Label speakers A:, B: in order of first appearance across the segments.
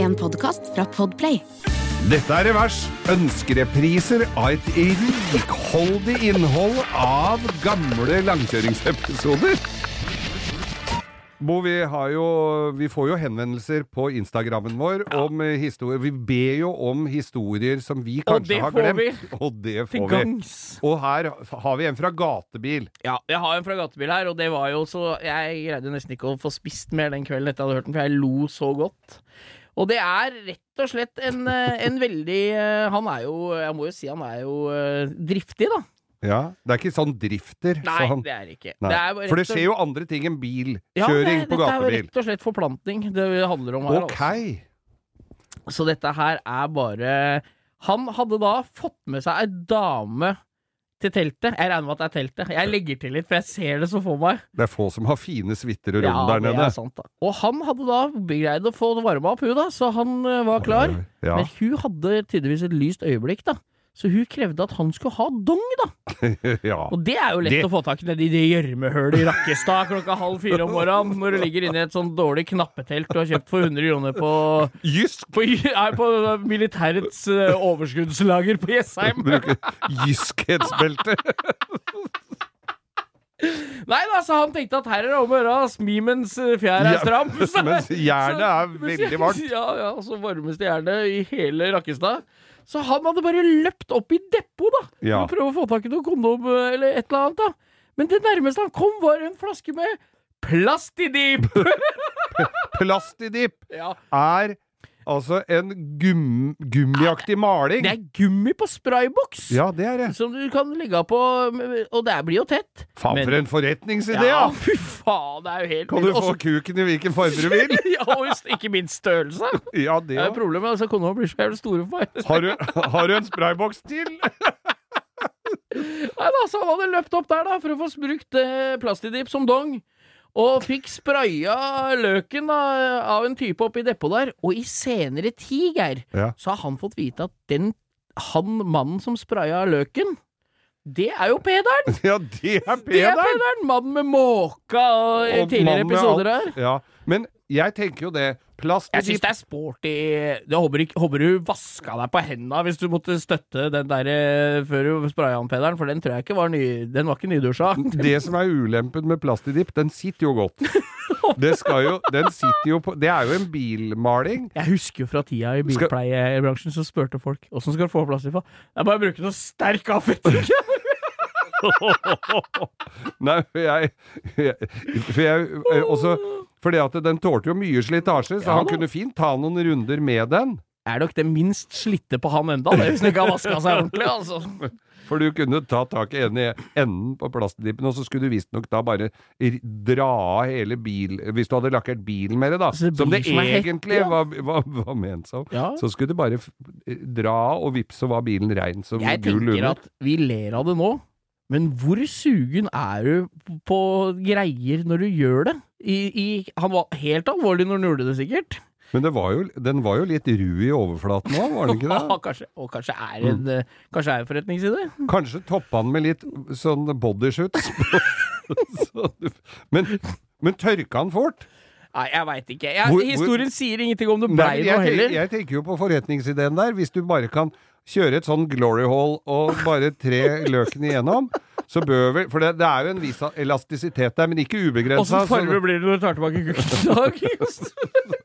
A: en podkast fra Podplay.
B: Dette er Revers. Ønskerepriser av et rikholdig innhold av gamle langkjøringsepisoder. Bo, vi, har jo, vi får jo henvendelser på Instagrammen vår om eh, historier. Vi ber jo om historier som vi kanskje
C: det
B: har
C: får
B: glemt. Og det
C: Til
B: får vi.
C: gangs.
B: Og her har vi en fra Gatebil.
C: Ja, jeg har en fra gatebil her, og det var jo så Jeg greide nesten ikke å få spist mer den kvelden etter jeg hadde hørt den, for jeg lo så godt. Og det er rett og slett en, eh, en veldig eh, Han er jo Jeg må jo si han er jo eh, driftig, da.
B: Ja, Det er ikke sånn drifter.
C: Nei,
B: sånn.
C: det er det ikke.
B: Nei.
C: er rett
B: For det
C: og-
B: skjer jo andre ting enn bilkjøring
C: Ja, det-
B: på
C: Dette er jo
B: gatebil.
C: rett og slett forplantning det handler om her.
B: Ok.
C: altså. Så dette her er bare Han hadde da fått med seg ei dame til teltet. Jeg regner med at det er teltet. Jeg legger til litt, for jeg ser det så for meg.
B: Det er få som har fine suiter og rom
C: Ja,
B: der
C: det
B: nede.
C: er sant da Og han hadde da greid å få varma opp hun da, så han eh, var klar.
B: Ja.
C: Men hun hadde tydeligvis et lyst øyeblikk, da. Så hun krevde at han skulle ha dong, da.
B: ja.
C: Og det er jo lett
B: Det-
C: å få tak i nedi det gjørmehølet i Rakkestad klokka halv fire om morgenen, når du ligger inne i et sånn dårlig knappetelt du har kjøpt for 100 kroner på,
B: Jysk!
C: på, nei, på militærets eh, overskuddslager på Jessheim.
B: Bruker jyskhetsbelte.
C: Nei da, så han tenkte at her er det om å gjøre. ass. Mimens eh, fjær er
B: Ja,
C: stram.
B: mens jernet er
C: Så-
B: veldig varmt.
C: Ja, ja, så varmeste jernet i hele Rakkestad. Så han hadde bare løpt opp i depot, da.
B: Ja.
C: For å prøve å få tak i noe kondom eh, eller et eller annet, da. Men det nærmeste han kom, var en flaske med Plastidip!
B: Plastidip
C: ja.
B: er altså en gum, gummiaktig maling.
C: Det er gummi på sprayboks!
B: Ja, det er det.
C: Som du kan ligge på Og det blir jo tett.
B: Faen,
C: Men-
B: for en forretningsidé, ja!
C: Ja, fy faen, det er jo helt
B: Kan du få
C: Også-
B: kuken i hvilken form du vil?
C: ja, og ikke minst størrelse.
B: Ja, det
C: Det er
B: ja.
C: jo problemet. Altså, Kondomer blir så jævlig store for meg.
B: Har du, har du en sprayboks til?
C: Nei da, så han hadde løpt opp der da for å få brukt eh, plastidip som dong. Og fikk spraya løken da, eh, av en type oppi depot der. Og i senere tid, Geir,
B: Ja.
C: så har han fått vite at den, han mannen som spraya løken, det er jo Pederen!
B: Ja, det er
C: Det er
B: Peder!
C: Pederen! Mannen med måka og, i
B: Og
C: tidligere
B: mannen med
C: episoder
B: alt.
C: her.
B: Ja. Men jeg tenker jo det.
C: Jeg syns
B: Plastidip
C: det er sporty Det håper, ikke- håper du vaska deg på henda hvis du måtte støtte den der eh, før du spraya han Pederen, for den tror jeg ikke var ny, Den var ikke nydusja.
B: Det som er ulempen med plastidip, den sitter jo godt. Det skal jo, den sitter jo på Det er jo en bilmaling.
C: Jeg husker jo fra tida i
B: Skal-
C: bilpleiebransjen, så spurte folk åssen skal du få plass til på. Det er bare å bruke noe sterk avfetting.
B: Nei, for jeg, jeg, for jeg eh, også, Fordi at den tålte jo mye slitasje, så
C: Ja
B: han
C: da.
B: kunne fint ta noen runder med den.
C: er nok det minst slitte på han enda, det, hvis han ikke har vaska seg ordentlig, altså.
B: For du kunne ta tak i en i enden på plastdippen, og så skulle du visstnok da bare r- dra av hele bil... Hvis du hadde lakkert bilen med det, da,
C: Så det
B: som
C: blir
B: det
C: Altså, som en hette,
B: egentlig
C: ja.
B: var, var, var ment som,
C: Ja.
B: så skulle du bare f- eh, dra av, og vips, så var bilen rein som
C: Jeg
B: gul
C: tenker
B: lune.
C: at vi ler av det nå, men hvor sugen er du på greier når du gjør det? I, i, han var helt alvorlig når han gjorde det, sikkert.
B: Men det var jo, den var jo litt ru i overflaten òg, var den ikke det?
C: kanskje, og kanskje er en,
B: Mm.
C: eh, kanskje er en forretningsidé?
B: Kanskje toppa den med litt sånn bodyshoots. Så- men, men tørka den fort?
C: Nei, jeg veit ikke. Jeg,
B: Hvor- hvor-
C: historien sier ingenting om det blei
B: Nei, men
C: noe
B: jeg, tenker-
C: heller.
B: jeg tenker jo på forretningsideen der. Hvis du bare kan kjøre et sånn glory hall og bare tre løken igjennom, så bør vel For det, det er jo en viss elastisitet der, men ikke ubegrensa.
C: Åssen farge
B: Så,
C: blir det når du tar tilbake kukken i dag?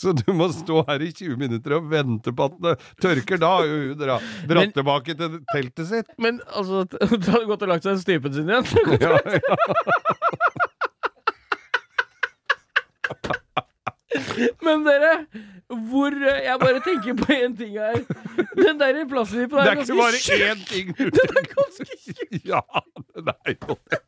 B: så du må stå her i 20 minutter og vente på at det tørker. Da har jo hun dra-
C: Men-
B: dratt tilbake til teltet sitt.
C: Men altså, t- hun hadde gått og lagt seg i strypen sin igjen.
B: Ja,
C: Men dere, hvor eh, Jeg bare tenker på én ting her. Den der plastdippen
B: Det
C: er
B: er ikke
C: ganske
B: bare
C: tjukk.
B: én ting du tenker. Ja, det er jo det.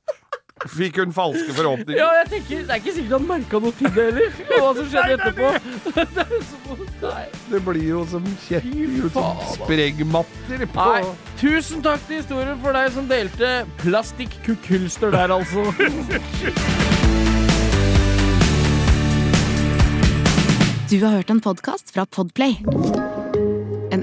B: Fikk hun falske
C: Ja,
B: forhåpninger?
C: jeg tenker, Det er ikke sikkert han merka noe til det heller. Og hva som skjedde etterpå. Det er så- Nei.
B: Det blir jo som kjetting ut som sprengmatter på
C: Nei. Tusen takk til historien for deg som delte plastikkukkulster der, altså.
A: Du har hørt en podkast fra Podplay. En